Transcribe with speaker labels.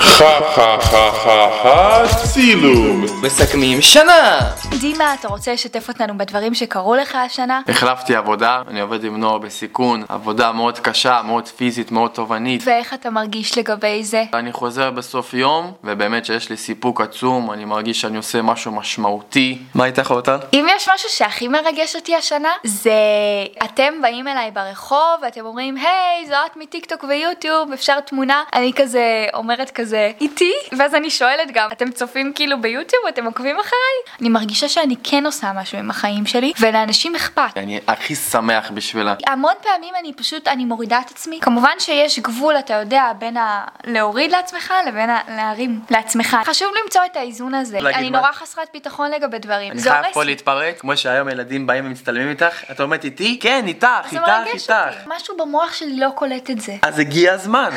Speaker 1: חה חה חה חה חה צילום.
Speaker 2: מסכמים שנה!
Speaker 3: דימה, אתה רוצה לשתף אותנו בדברים שקרו לך השנה?
Speaker 4: החלפתי עבודה, אני עובד עם נוער בסיכון, עבודה מאוד קשה, מאוד פיזית, מאוד תובענית.
Speaker 3: ואיך אתה מרגיש לגבי זה?
Speaker 4: אני חוזר בסוף יום, ובאמת שיש לי סיפוק עצום, אני מרגיש שאני עושה משהו משמעותי. מה איתך אותה?
Speaker 3: אם יש משהו שהכי מרגש אותי השנה, זה אתם באים אליי ברחוב ואתם אומרים, היי, זו את מטיקטוק ויוטיוב, אפשר תמונה? אני כזה אומרת כזה, איתי? ואז אני שואלת גם, אתם צופים כאילו ביוטיוב? אתם עוקבים אחריי? אני מרגישה שאני כן עושה משהו עם החיים שלי, ולאנשים אכפת.
Speaker 4: אני הכי שמח בשבילה.
Speaker 3: המון פעמים אני פשוט, אני מורידה את עצמי. כמובן שיש גבול, אתה יודע, בין ה... להוריד לעצמך לבין ה... להרים לעצמך. חשוב למצוא את האיזון הזה.
Speaker 4: להגיד
Speaker 3: אני
Speaker 4: מה?
Speaker 3: נורא חסרת ביטחון לגבי דברים.
Speaker 4: אני
Speaker 3: זה
Speaker 4: חייב
Speaker 3: הורס
Speaker 4: פה
Speaker 3: לי.
Speaker 4: להתפרק, כמו שהיום ילדים באים ומצטלמים איתך, את אומרת איתי? כן, איתך,
Speaker 3: זה
Speaker 4: איתך,
Speaker 3: מרגש
Speaker 4: איתך.
Speaker 3: אותי. משהו במוח שלי לא קולט את זה.
Speaker 4: אז הגיע הזמן.